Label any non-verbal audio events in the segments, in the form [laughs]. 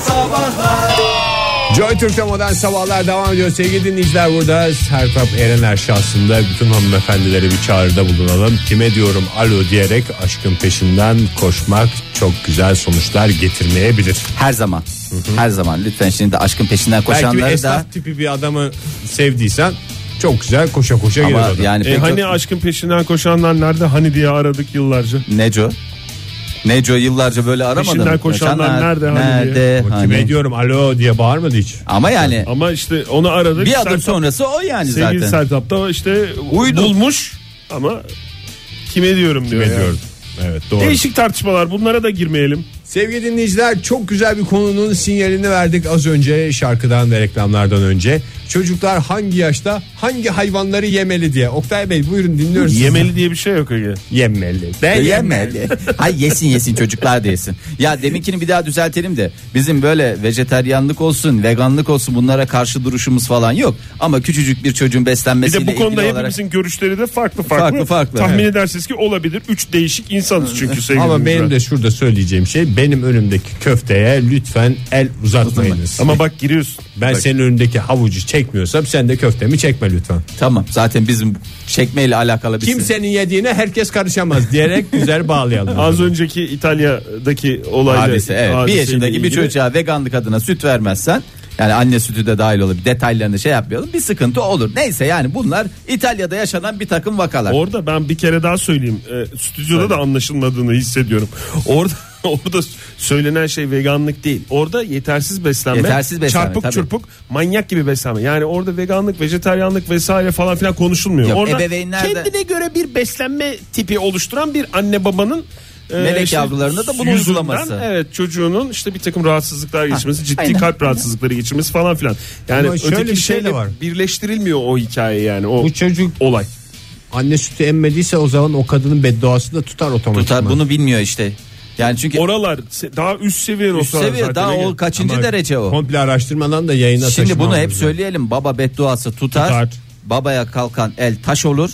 Sabahlar Joy Türk'te modern sabahlar devam ediyor sevgili dinleyiciler burada Sertap Erener şahsında bütün hanımefendilere bir çağrıda bulunalım kime diyorum alo diyerek aşkın peşinden koşmak çok güzel sonuçlar getirmeyebilir Her zaman. Her zaman lütfen şimdi de aşkın peşinden belki bir koşanları da esnaf tipi bir adamı sevdiysen çok güzel koşa koşa Ama gelir adam. yani E, pek hani çok- aşkın peşinden koşanlar nerede? Hani diye aradık yıllarca. Neco. Neco yıllarca böyle aramadı mı? Peşinden koşanlar Sen nerede, hani nerede, Ama hani? kime diyorum alo diye bağırmadı hiç Ama yani Ama işte onu aradık. bir adım Sertap- sonrası o yani Sevgili zaten. Sertap da işte Uydu. bulmuş ama kime diyorum diyor. kime yani. diyorum evet doğru Değişik tartışmalar bunlara da girmeyelim. Sevgili dinleyiciler çok güzel bir konunun sinyalini verdik az önce şarkıdan ve reklamlardan önce. Çocuklar hangi yaşta hangi hayvanları yemeli diye. Oktay Bey buyurun dinliyoruz. sizi. [laughs] Yemeli diye bir şey yok Ege. Yemeli. Ben Yeme. Hay yesin yesin çocuklar da yesin. Ya deminkini bir daha düzeltelim de bizim böyle vejeteryanlık olsun, veganlık olsun bunlara karşı duruşumuz falan yok. Ama küçücük bir çocuğun Bir beslenmesiyle de bu konuda ilgili olarak hepimizin görüşleri de farklı farklı. Farklı farklı, Tahmin evet. edersiniz ki olabilir. Üç [laughs] değişik insanız çünkü sevgili Ama dinleyiciler. benim de şurada söyleyeceğim şey benim önümdeki köfteye lütfen el uzatmayınız. Ama Ama bak giriyorsun. ben senin önündeki havucu çekmiyorsam sen de köftemi çekme lütfen. tamam zaten bizim çekmeyle alakalı bir Kimsenin yediğine herkes karışamaz diyerek güzel bağlayalım. Az önceki İtalya'daki olayda hadise. Evet. bir hadiseyle yaşındaki bir ilgili. çocuğa veganlık adına süt vermezsen yani anne sütü de dahil olup detaylarını şey yapmayalım bir sıkıntı olur. Neyse yani bunlar İtalya'da yaşanan bir takım vakalar. Orada ben bir kere daha söyleyeyim. Ee, stüdyoda da anlaşılmadığını hissediyorum. Orada [laughs] orada söylenen şey veganlık değil. Orada yetersiz beslenme, Yetersiz beslenme, çarpık tabii. çırpık, manyak gibi beslenme. Yani orada veganlık, vejetaryanlık vesaire falan filan konuşulmuyor. Yok, orada ebeveynler de- kendine göre bir beslenme tipi oluşturan bir anne babanın e, Melek yavrularına da bunu yüzünden, uygulaması. Evet çocuğunun işte bir takım rahatsızlıklar geçirmesi, ciddi aynen. kalp rahatsızlıkları geçirmesi falan filan. Yani Ama şöyle öteki bir şey de şeyle var. birleştirilmiyor o hikaye yani o Bu çocuk olay. anne sütü emmediyse o zaman o kadının bedduasını da tutar otomatikman. Tutar bunu bilmiyor işte. Yani çünkü Oralar se- daha üst seviye üst restoran seviye zaten. daha Ege. o kaçıncı Ama derece o? Komple araştırmadan da yayına Şimdi bunu taşımamız hep lazım. söyleyelim. Baba bedduası tutar. Tutar. Babaya kalkan el taş olur.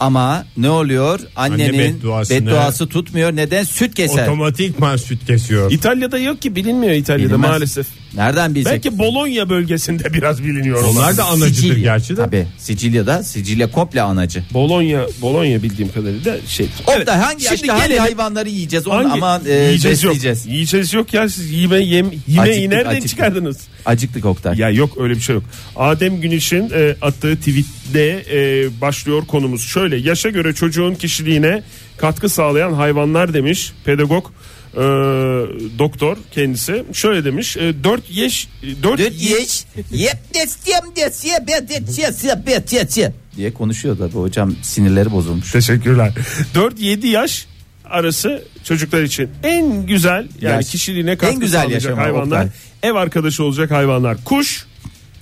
Ama ne oluyor? Annenin bedduasını- bedduası tutmuyor. Neden? Süt keser. Otomatikman süt kesiyor. İtalya'da yok ki bilinmiyor İtalya'da Bilinmez. maalesef. Nereden bilecek? Belki Bologna bölgesinde [laughs] biraz biliniyor. Onlar da anacıdır Sicilya. gerçi de. Tabii. Sicilya'da Sicilya komple anacı. Bologna, Bologna bildiğim kadarıyla şey. Evet. da hangi Şimdi yaşta hangi gelelim- hayvanları yiyeceğiz? Onu Hangi- aman e, yiyeceğiz yok. besleyeceğiz. Yiyeceğiz yok ya siz yeme yem yemeği Acıktık, nereden acıktık. çıkardınız? Acıktık Oktay. [laughs] Ya yok öyle bir şey yok. Adem Güneş'in e, attığı tweette e, başlıyor konumuz. Şöyle yaşa göre çocuğun kişiliğine katkı sağlayan hayvanlar demiş pedagog e, doktor kendisi. Şöyle demiş e, 4 yeş 4 Dört yeş. Yep des yem des ye be de çe se be çe çe. diye konuşuyor da bu hocam sinirleri bozulmuş. Teşekkürler. [laughs] 4-7 yaş arası çocuklar için en güzel yani Yaş. kişiliğine katkı En güzel sağlayacak yaşama, hayvanlar. Oktay. Ev arkadaşı olacak hayvanlar. Kuş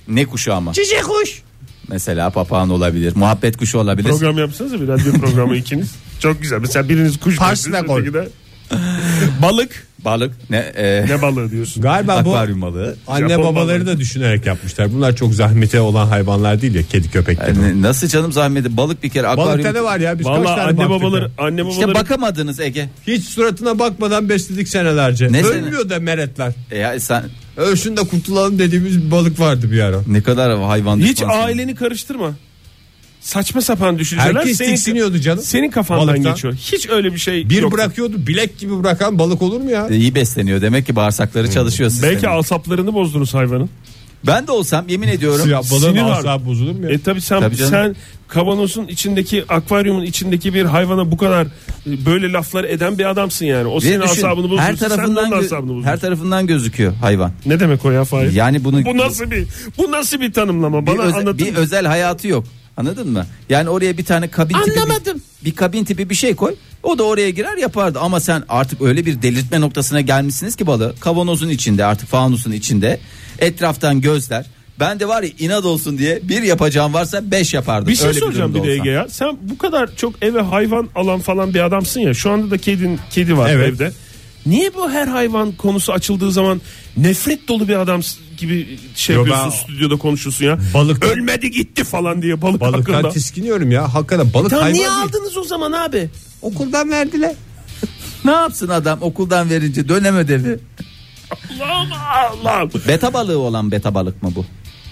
Ne kuşu ama? Cici kuş. Mesela papağan olabilir. Muhabbet kuşu olabilir. program yapsanız bir radyo programı ikiniz. Çok güzel. Mesela biriniz kuş Parsnak diyorsunuz, ol. öteki de- [laughs] Balık Balık. Ne, e, ne balığı diyorsun? Galiba bu akvaryum balığı. anne Japon babaları da düşünerek yapmışlar. Bunlar çok zahmete olan hayvanlar değil ya kedi köpek E, gibi. ne- Nasıl canım zahmeti balık bir kere akvaryum. Balıkta ne var ya biz kaç Valla tane anne baktık babaları ya? anne babaları İşte bakamadınız Ege. Hiç suratına bakmadan besledik senelerce. Ne Ölmüyor da meretler. E, ya sen Ölsün de kurtulalım dediğimiz bir balık vardı bir ara. ne kadar hayvan hiç düşmanısın. aileni karıştırma. Saçma sapan düşünceler Herkes senin, tiksiniyordu canım. senin kafandan Balıktan. geçiyor. Hiç öyle bir şey Bir yok. bırakıyordu bilek gibi bırakan balık olur mu ya? E, iyi besleniyor demek ki bağırsakları çalışıyor sistemin. Hmm. Belki asaplarını bozdunuz hayvanın. Ben de olsam yemin ediyorum. Ya balığın sinir var. asabı bozulur mu ya? E tabi sen Tabii canım. sen kavanozun içindeki akvaryumun içindeki bir hayvana bu kadar e, böyle laflar eden bir adamsın yani. O Ve senin düşün, asabını bozuyor. her sen de tarafından onun gö- asabını bozuyorsun. her tarafından gözüküyor hayvan. Ne demek o ya Fahir? Yani bunu bu nasıl bir bu nasıl bir tanımlama? bir, Bana öze- anlatın. bir özel hayatı yok. Anladın mı? Yani oraya bir tane kabin tipi Anlamadım. bir, bir kabin tipi bir şey koy. O da oraya girer yapardı ama sen artık öyle bir delirtme noktasına gelmişsiniz ki balığı kavanozun içinde artık fanusun içinde etraftan gözler. Ben de var ya inat olsun diye bir yapacağım varsa beş yapardım. Bir şey öyle soracağım bir, durumda de olsam. Ege ya. Sen bu kadar çok eve hayvan alan falan bir adamsın ya. Şu anda da kedin kedi var Evet. evde. Niye bu her hayvan konusu açıldığı zaman nefret dolu bir adam s- gibi şey Yo, yapıyorsun ben- stüdyoda konuşuyorsun ya. Balık- Ölmedi gitti falan diye balık, hakkında. Balıktan tiskiniyorum ya. Hakikaten balık Tamam hayvan niye değil. aldınız o zaman abi? Okuldan verdiler. Ne yapsın adam okuldan verince dönem ödevi. Allah'ım Allah'ım. Beta balığı olan beta balık mı bu?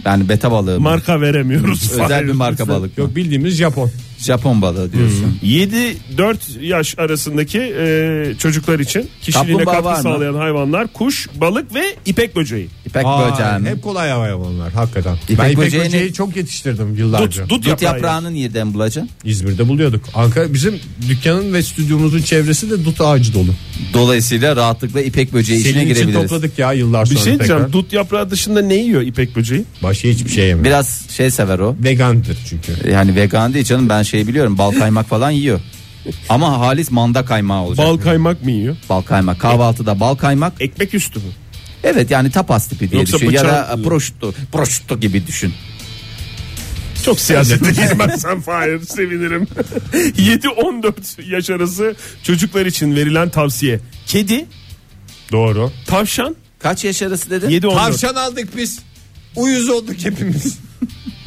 Yani beta balığı mı? Marka veremiyoruz. Özel bir marka balık mı? Yok Hmm. bildiğimiz Japon. Japon balığı diyorsun. 7-4 yaş arasındaki e, çocuklar için kişiliğine Kaplumbağa var katkı mı? sağlayan hayvanlar kuş, balık ve ipek böceği. İpek Aa, böceği mi? Hep kolay hayvanlar hakikaten. İpek ben ipek böceğini- böceği çok yetiştirdim yıllarca. Dut, dut, Dut yaprağı. yaprağını nereden bulacaksın? İzmir'de buluyorduk. Ankara bizim dükkanın ve stüdyomuzun çevresi de dut ağacı dolu. Dolayısıyla rahatlıkla ipek böceği içine Senin için girebiliriz. topladık ya yıllar Bir sonra şey diyeceğim tekrar. dut yaprağı dışında ne yiyor ipek böceği? Başka hiçbir şey yemiyor. Biraz şey sever o. Vegandır çünkü. Yani vegan değil canım ben şey biliyorum bal kaymak falan yiyor. Ama halis manda kaymağı olacak. Bal kaymak mı yiyor? Bal kaymak kahvaltıda bal kaymak. Ekmek üstü mü? Evet yani tapas tipi diye Yoksa düşün ya da bıçak- proşutto, proşutto gibi düşün. Çok siyasete girmezsen Fahir sevinirim. [laughs] 7-14 yaş arası çocuklar için verilen tavsiye. Kedi, Doğru. tavşan, Kaç yaş arası dedin? 7-14. Tavşan aldık biz. Uyuz olduk hepimiz.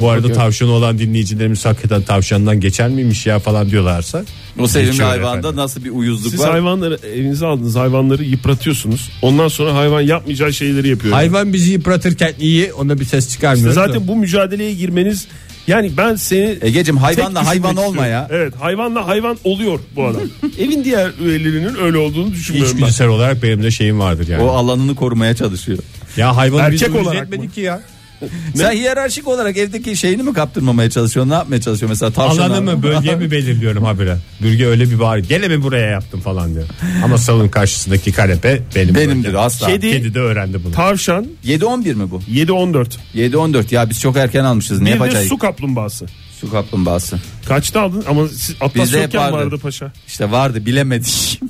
Bu arada tavşanı olan dinleyicilerimiz hakikaten tavşandan geçer miymiş ya falan diyorlarsa. O sevimli Geçiyor hayvanda efendim. nasıl bir uyuzluk Siz var? hayvanları evinize aldınız hayvanları yıpratıyorsunuz. Ondan sonra hayvan yapmayacağı şeyleri yapıyor. Hayvan bizi yıpratırken iyi ona bir ses İşte çıkarmıyor. zaten bu mücadeleye girmeniz yani ben seni Egecim tek hayvanla düşünmek hayvan olma istiyorum. ya. Evet hayvanla hayvan oluyor bu adam. [laughs] Evin diğer üyelerinin öyle olduğunu düşünmüyorum ben. İçgüdüsel olarak benim de şeyim vardır yani. O alanını korumaya çalışıyor. ya hayvanı Erkek biz uyuz olarak etmedik mı? ki ya. Sen hiyerarşik olarak evdeki şeyini mi kaptırmamaya çalışıyorsun? Ne yapmaya çalışıyorsun? Mesela tavşan Alanı mı bölge mi belirliyorum habire. Bölge öyle bir bağır. Gene mi buraya yaptım falan diyor. Ama salon karşısındaki kanepe benim. Benimdir bölgem. asla. Kedi- Kedi de öğrendi bunu. Tavşan 7-11 mi bu? 7-14. 7-14 ya biz çok erken almışız. Ne Bir de yapacağız? su kaplumbağası. Su kaplumbağası. Kaçta aldın ama siz Atlas Bizde hep yokken vardı. vardı paşa. İşte vardı bilemedik.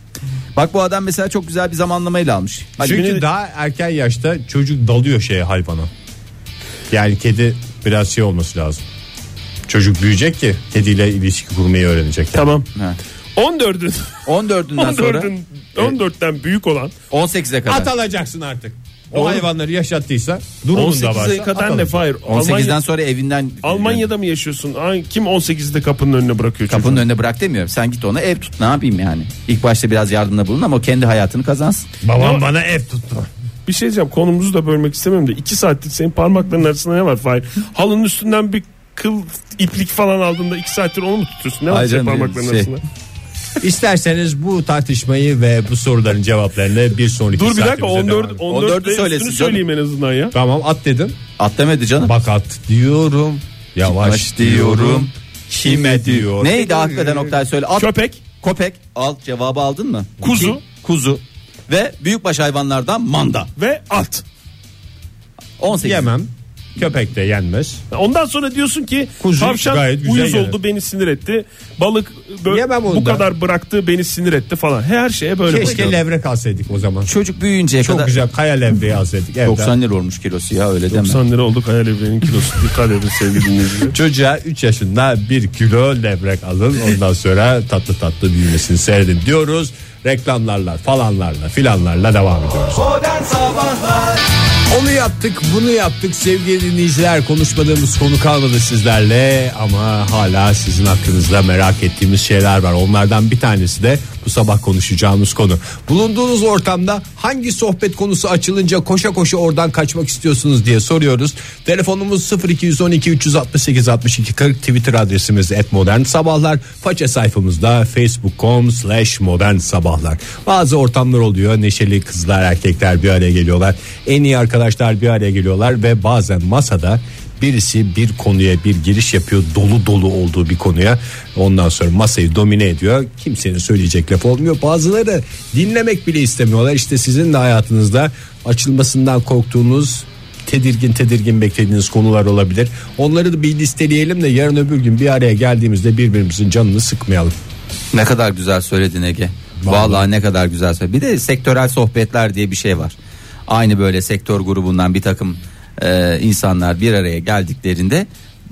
[laughs] Bak bu adam mesela çok güzel bir zamanlamayla almış. Hadi Çünkü beni- daha erken yaşta çocuk dalıyor şeye hayvana. Yani kedi biraz şey olması lazım. Çocuk büyüyecek ki kediyle ilişki kurmayı öğrenecek. yani. Tamam. Ha. 14'ün 14'ünden sonra 14'ün 14'ten büyük olan 18'e kadar. At alacaksın artık. O Doğru. hayvanları yaşattıysa durumun da varsa 18'e at kadar ne alacaksın. Fahir? 18'den Almanya- sonra evinden e, Almanya'da mı yaşıyorsun? Ay, Kim 18'de kapının önüne bırakıyor kapının çocuğu? önüne bırak demiyorum. Sen git ona ev tut ne yapayım yani. İlk başta biraz yardımda bulun ama o kendi hayatını kazansın. Babam bana ev tuttu. Bir şey diyeceğim konumuzu da bölmek istemiyorum da 2 saattir senin parmakların arasında ne var Fahir? Halının üstünden bir kıl iplik falan aldığında 2 saattir onu mu tutuyorsun? Ne var Hayır senin canım, parmakların şey- arasında? İsterseniz bu tartışmayı ve bu soruların cevaplarını bir sonraki Dur bir dakika saatimizde devam 14 edelim. 14 14'ü söylesin üstünü söyleyeyim en azından ya. Tamam at dedim. At demedi canım. Bak at diyorum. Yavaş Baş diyorum. diyorum. Kime diyor? Neydi hakikaten Oktay söyle. At, Köpek köpek. Al cevabı aldın mı? Kuzu. İki, kuzu. Ve büyükbaş hayvanlardan manda. ve at. 18. Yemem. Köpek de yenmez. Ondan sonra diyorsun ki Kuzu tavşan gayet güzel uyuz yani. oldu beni sinir etti. Balık bö- Yemem bu onu da. kadar bıraktı beni sinir etti falan. Her şeye böyle Keşke bakıyorum. levrek alsaydık o zaman. Çocuk büyüyünceye Çok kadar. güzel kaya levreği alsaydık. evden. 90 lira olmuş kilosu ya öyle deme. 90 lira oldu hayal evrenin kilosu. Dikkat edin sevgili dinleyiciler. Çocuğa 3 yaşında 1 kilo levrek alın. Ondan sonra tatlı tatlı büyümesini seyredin diyoruz. Reklamlarla falanlarla filanlarla devam ediyoruz. Onu yaptık bunu yaptık sevgili dinleyiciler konuşmadığımız konu kalmadı sizlerle ama hala sizin hakkınızda merak ettiğimiz şeyler var. Onlardan bir tanesi de bu sabah konuşacağımız konu. Bulunduğunuz ortamda hangi sohbet konusu açılınca koşa koşa oradan kaçmak istiyorsunuz diye soruyoruz. Telefonumuz 0212 368 62 40 Twitter adresimiz et modern sabahlar. Faça sayfamızda facebook.com slash modern sabahlar. Bazı ortamlar oluyor neşeli kızlar erkekler bir araya geliyorlar. En iyi arkadaşlar bir araya geliyorlar ve bazen masada birisi bir konuya bir giriş yapıyor dolu dolu olduğu bir konuya ondan sonra masayı domine ediyor kimsenin söyleyecek laf olmuyor bazıları dinlemek bile istemiyorlar işte sizin de hayatınızda açılmasından korktuğunuz tedirgin tedirgin beklediğiniz konular olabilir. Onları da bir listeleyelim de yarın öbür gün bir araya geldiğimizde birbirimizin canını sıkmayalım. Ne kadar güzel söyledin Ege. Vallahi, ne kadar güzel söyledin. Bir de sektörel sohbetler diye bir şey var. Aynı böyle sektör grubundan bir takım e, insanlar bir araya geldiklerinde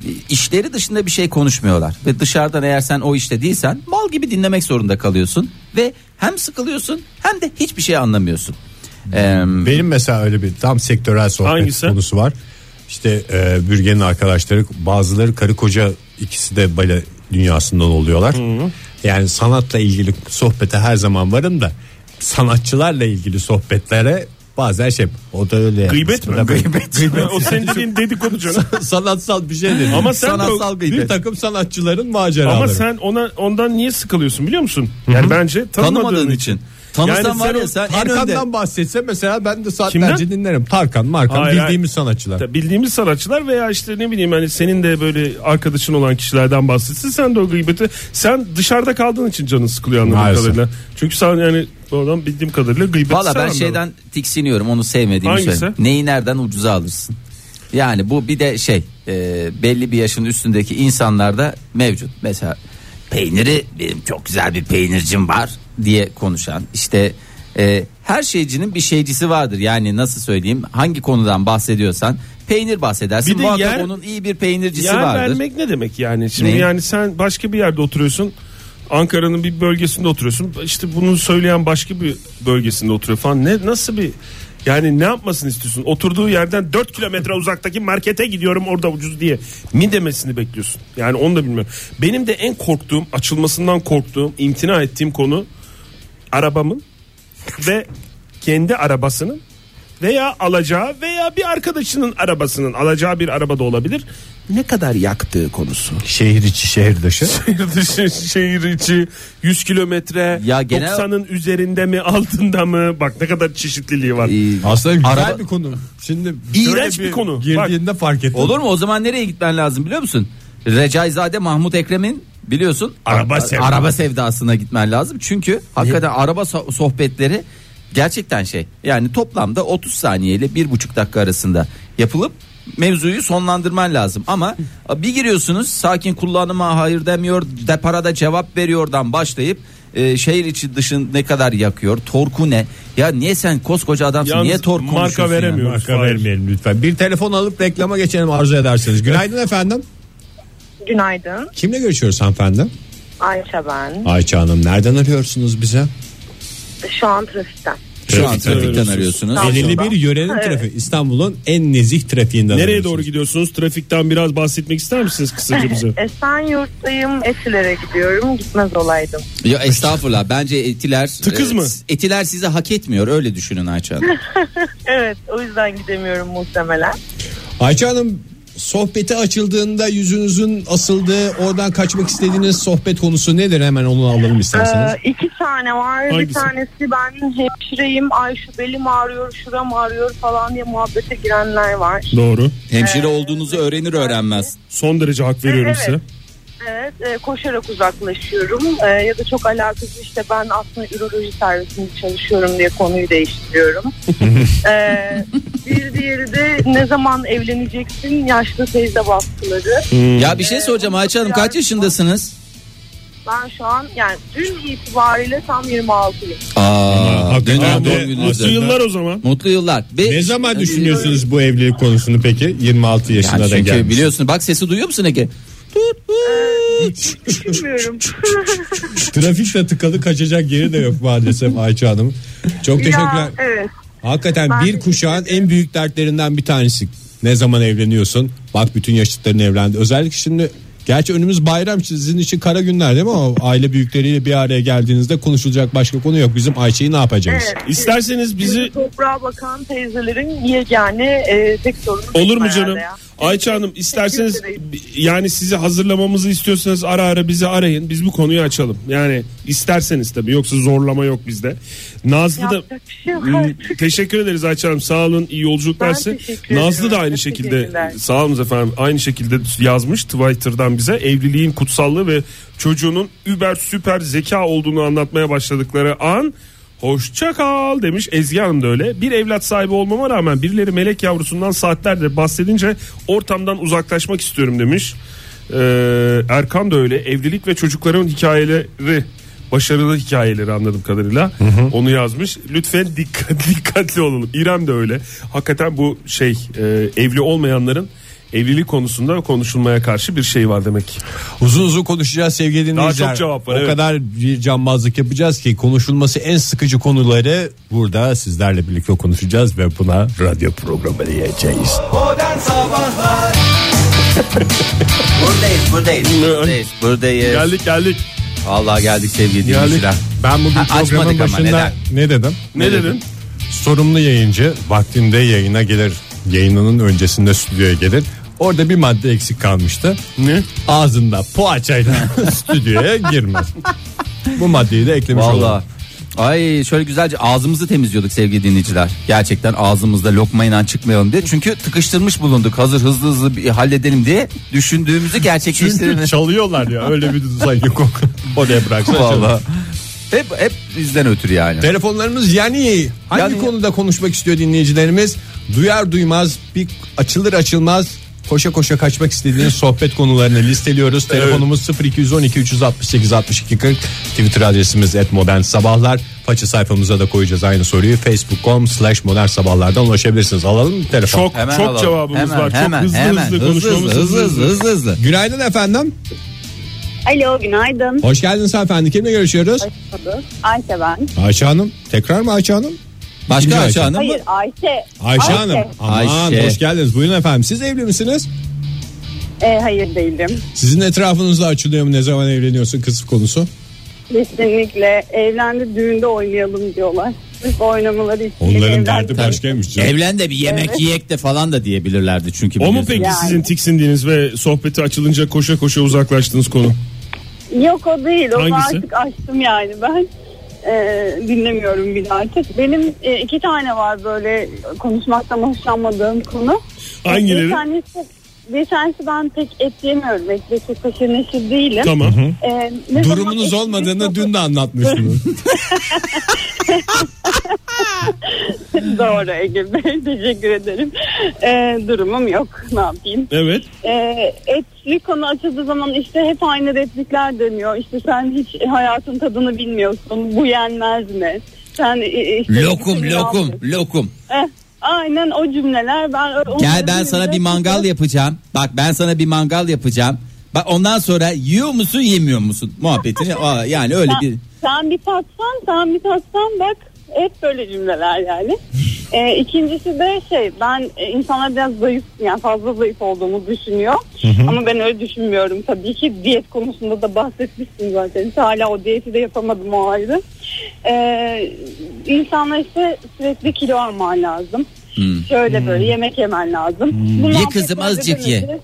e, işleri dışında bir şey konuşmuyorlar. Ve dışarıdan eğer sen o işte değilsen mal gibi dinlemek zorunda kalıyorsun. Ve hem sıkılıyorsun hem de hiçbir şey anlamıyorsun. E, Benim mesela öyle bir tam sektörel sohbet Hangisi? konusu var. İşte e, bürgenin arkadaşları bazıları karı koca ikisi de bale dünyasından oluyorlar. Yani sanatla ilgili sohbete her zaman varım da sanatçılarla ilgili sohbetlere Bazen şey o da öyle. Gıybet mi? Gıybet. o senin dediğin dedikodu canım. [laughs] Sanatsal bir şey dedi. Ama sen Sanatsal de, bir gıybet. takım sanatçıların maceraları. ama sen ona ondan niye sıkılıyorsun biliyor musun? Yani bence tanımadığın, Tanımadığın için. Tanısan Yani var sen ya o sen en önde. Tarkan'dan bahsetse mesela ben de saatlerce Kimden? dinlerim. Tarkan, Markan Hayır, bildiğimiz sanatçılar. Ta- bildiğimiz sanatçılar veya işte ne bileyim hani senin de böyle arkadaşın olan kişilerden bahsetsin sen de o gıybeti sen dışarıda kaldığın için canın sıkılıyor anladığım Maalesef. kadarıyla. Çünkü sen yani oradan bildiğim kadarıyla gıybeti Valla sen ben anladın. şeyden tiksiniyorum onu sevmediğimi Hangisi? söyleyeyim. Neyi nereden ucuza alırsın? Yani bu bir de şey e, belli bir yaşın üstündeki insanlarda mevcut. Mesela peyniri benim çok güzel bir peynircim var diye konuşan işte e, her şeycinin bir şeycisi vardır. Yani nasıl söyleyeyim hangi konudan bahsediyorsan peynir bahsedersin. Bir de Muhakkak yer- onun iyi bir peynircisi Yer vardır. vermek ne demek yani? Şimdi Ne? yani sen başka bir yerde oturuyorsun. Ankara'nın bir bölgesinde oturuyorsun. İşte bunu söyleyen başka bir bölgesinde oturuyor falan. Ne nasıl bir yani ne yapmasını istiyorsun? Oturduğu yerden 4 kilometre uzaktaki markete gidiyorum orada ucuz diye. Mi demesini bekliyorsun? Yani onu da bilmiyorum. Benim de en korktuğum, açılmasından korktuğum, imtina ettiğim konu arabamın ve kendi arabasının veya alacağı veya bir arkadaşının arabasının alacağı bir araba da olabilir. Ne kadar yaktığı konusu. Şehir içi, şehir dışı. Şehir dışı, şehir içi, 100 kilometre, Ya genel- 90'ın üzerinde mi, altında mı? Bak ne kadar çeşitliliği var. E, Aslında güzel Araba- bir konu. Şimdi İğrenç şöyle bir konu. Girdiğinde fark ettim. Olur mu? O zaman nereye gitmen lazım biliyor musun? Recaizade Mahmut Ekrem'in biliyorsun Araba a- sevdası. araba sevdasına gitmen lazım. Çünkü hakikaten araba so- sohbetleri gerçekten şey. Yani toplamda 30 saniye ile 1,5 dakika arasında yapılıp mevzuyu sonlandırman lazım. Ama bir giriyorsunuz sakin kullanıma hayır demiyor, deparada cevap veriyordan başlayıp e, şehir içi dışın ne kadar yakıyor, torku ne? Ya niye sen koskoca adamsın? Yalnız niye tork marka konuşuyorsun? ya? veremiyor. Marka Hayır. vermeyelim lütfen. Bir telefon alıp reklama geçelim arzu ederseniz. Günaydın efendim. Günaydın. Kimle görüşüyoruz hanımefendi? Ayça ben. Ayça Hanım nereden arıyorsunuz bize? Şu an trafikten. Şu an trafikten Trafikten arıyorsunuz. arıyorsunuz. Tamam. Belirli bir yörenin Evet. trafiği. İstanbul'un en nezih trafiğinden. Nereye arıyorsunuz. doğru gidiyorsunuz? Trafikten biraz bahsetmek ister misiniz [laughs] kısaca bize? Esenyurt'tayım. Esilere gidiyorum. Gitmez olaydım. Ya estağfurullah. Bence etiler e, Tıkız mı? Etiler sizi hak etmiyor. Öyle düşünün Ayça Hanım. Evet o yüzden gidemiyorum muhtemelen. Ayça Hanım sohbeti açıldığında yüzünüzün asıldığı oradan kaçmak istediğiniz sohbet konusu nedir? Hemen onu alalım isterseniz. Ee, iki tane var. Hangisi? Bir tanesi ben hemşireyim. Ay şu belim ağrıyor, şuram ağrıyor falan diye muhabbete girenler var. doğru. Hemşire olduğunuzu öğrenir öğrenmez. Son derece hak veriyorum Evet. size. Evet e, koşarak uzaklaşıyorum. E, ya da çok alakasız işte ben aslında üroloji servisinde çalışıyorum diye konuyu değiştiriyorum. E, bir diğeri de ne zaman evleneceksin yaşlı teyze baskıları. Ya bir şey soracağım Ayça Hanım kaç yaşındasınız? Ben şu an yani dün itibariyle tam 26'yım. Aa, dün hakikaten doğum de gününüzdü. Mutlu yıllar o zaman. Mutlu yıllar. Ve- Ne Ee, zaman düşünüyorsunuz bu evlilik konusunu peki? 26 yaşına Yani da çünkü gelmiş. biliyorsun bak sesi duyuyor musun Ege? Tut, tut. Bilmiyorum. Trafikte tıkalı kaçacak yeri de yok maalesef Ayça Hanım. Çok teşekkürler. ya, evet. Hakikaten Ben bir kuşağın en büyük dertlerinden bir tanesi. Ne zaman evleniyorsun? Bak bütün yaşıtların evlendi. Özellikle şimdi gerçi önümüz bayram sizin için kara günler değil mi? O aile büyükleriyle bir araya geldiğinizde konuşulacak başka konu yok. Bizim Ayça'yı ne yapacağız? evet. İsterseniz bizi Bizi toprağa bakan teyzelerin yegane e, tek sorunu. Olur benim mu herhalde canım? ya. Ayça Hanım isterseniz Teşekkür ederim. yani sizi hazırlamamızı istiyorsanız ara ara bizi arayın. Biz bu konuyu açalım. Yani isterseniz tabii yoksa zorlama yok bizde. Nazlı da Hmm, Yapacak bir şey yok artık. teşekkür ederiz Ayça Hanım. Sağ olun. iyi yolculuklar Ben size. teşekkür Nazlı ediyorum. da aynı Çok şekilde teşekkürler. sağ olun efendim. Aynı şekilde yazmış Twitter'dan bize evliliğin kutsallığı ve çocuğunun über süper zeka olduğunu anlatmaya başladıkları an Hoşça kal demiş Ezgi Hanım da öyle. Bir evlat sahibi olmama rağmen birileri melek yavrusundan saatlerdir bahsedince ortamdan uzaklaşmak istiyorum demiş. Ee, Erkan da öyle. Evlilik ve çocukların hikayeleri başarılı hikayeleri anladığım kadarıyla onu yazmış. Lütfen dikkat, [laughs] dikkatli olalım. İrem de öyle. Hakikaten bu şey e, evli olmayanların evlilik konusunda konuşulmaya karşı bir şey var demek. Uzun uzun konuşacağız sevgili dinleyiciler. çok cevap var, O evet. kadar bir cambazlık yapacağız ki konuşulması en sıkıcı konuları burada sizlerle birlikte konuşacağız ve buna radyo programı diyeceğiz. [laughs] buradayız buradayız buradayız buradayız. Geldik geldik. Vallahi geldik sevgili dinleyiciler. Ben bugün Ha, açmadık programın ama başında neden? ne dedim? Ne, dedin? Sorumlu yayıncı vaktinde yayına gelir. Yayınının öncesinde stüdyoya gelir. Orada bir madde eksik kalmıştı. Ne? Ağzında poğaçayla [laughs] stüdyoya girmez. Bu maddeyi de eklemiş olalım. Valla. Ay şöyle güzelce ağzımızı temizliyorduk sevgili dinleyiciler. Gerçekten ağzımızda lokmayla çıkmayalım diye. Çünkü tıkıştırmış bulunduk. Hazır hızlı hızlı bir halledelim diye düşündüğümüzü Çünkü gerçekleştirelim. çalıyorlar ya öyle bir sanki [laughs] koku. Oraya bıraksan çalıyor. Valla. Hep hep bizden ötürü yani. Telefonlarımız yani hangi Yani- konuda konuşmak istiyor dinleyicilerimiz? Duyar duymaz bir açılır açılmaz koşa koşa kaçmak istediğiniz sohbet konularını listeliyoruz. Telefonumuz 0212 368 62 40. Twitter adresimiz @modernsabahlar. sabahlar. Faça sayfamıza da koyacağız aynı soruyu. Facebook.com slash modern sabahlardan ulaşabilirsiniz. Alalım mı telefon. Çok Hemen çok alalım. cevabımız Hemen, var. Çok hemen, hızlı hemen. hızlı konuşmamız hızlı hızlı hızlı hızlı. Günaydın efendim. Alo günaydın. Hoş geldiniz efendim. Kimle görüşüyoruz? Ayşe ben. Ayşe Hanım. Tekrar mı Ayşe Hanım? Başka İkinci Ayşe Ayşe. Hanım mı? Hayır Ayşe. Ayşe, Hanım. Aman Ayşe. hoş geldiniz. Buyurun efendim. Siz evli misiniz? E, hayır değilim. Sizin etrafınızda açılıyor mu ne zaman evleniyorsun kız konusu? Kesinlikle evlendi düğünde oynayalım diyorlar. Biz oynamaları için. Onların evlendi. derdi başkaymış canım. Evlen de bir yemek yiyek de falan da diyebilirlerdi çünkü. O mu biliyorsun. peki Yani. sizin tiksindiğiniz ve sohbeti açılınca koşa koşa uzaklaştığınız konu? Yok o değil. Onu Hangisi? artık açtım yani ben. E, dinlemiyorum bile artık. Benim e, iki tane var böyle konuşmaktan hoşlanmadığım konu. Hangileri? Bir tanesi, bir tanesi ben pek et yemiyorum. Et ve çok haşır neşir değilim. Tamam. E, ne zaman Durumunuz et- olmadığını dün de anlatmıştınız. Doğru Ege Bey. [laughs] Teşekkür ederim. E, durumum yok. Ne yapayım? Evet. Ee, etli konu açıldığı zaman işte hep aynı replikler dönüyor. İşte sen hiç hayatın tadını bilmiyorsun. Bu yenmez mi? Sen e, e, işte Lokum lokum lokum. Eh, aynen o cümleler. Ben Gel ben sana bir mangal yapacağım. Bak ben sana bir mangal yapacağım. Bak ondan sonra yiyor musun yemiyor musun muhabbetini. Aa, yani öyle bir Sen, sen bir tatsan, sen bir tatsan bak. Hep böyle cümleler yani. Ee, ikincisi de şey ben e, insanlar biraz zayıf yani fazla zayıf olduğumu düşünüyor. Ama ben öyle düşünmüyorum tabii ki diyet konusunda da bahsetmiştim zaten. Hala o diyeti de yapamadım o ayrı. Ee, insanlar işte sürekli kilo alman lazım. Şöyle böyle yemek yemen lazım. Bu Hmm. Ye muhabbetlerde kızım, azıcık ye. dönünce-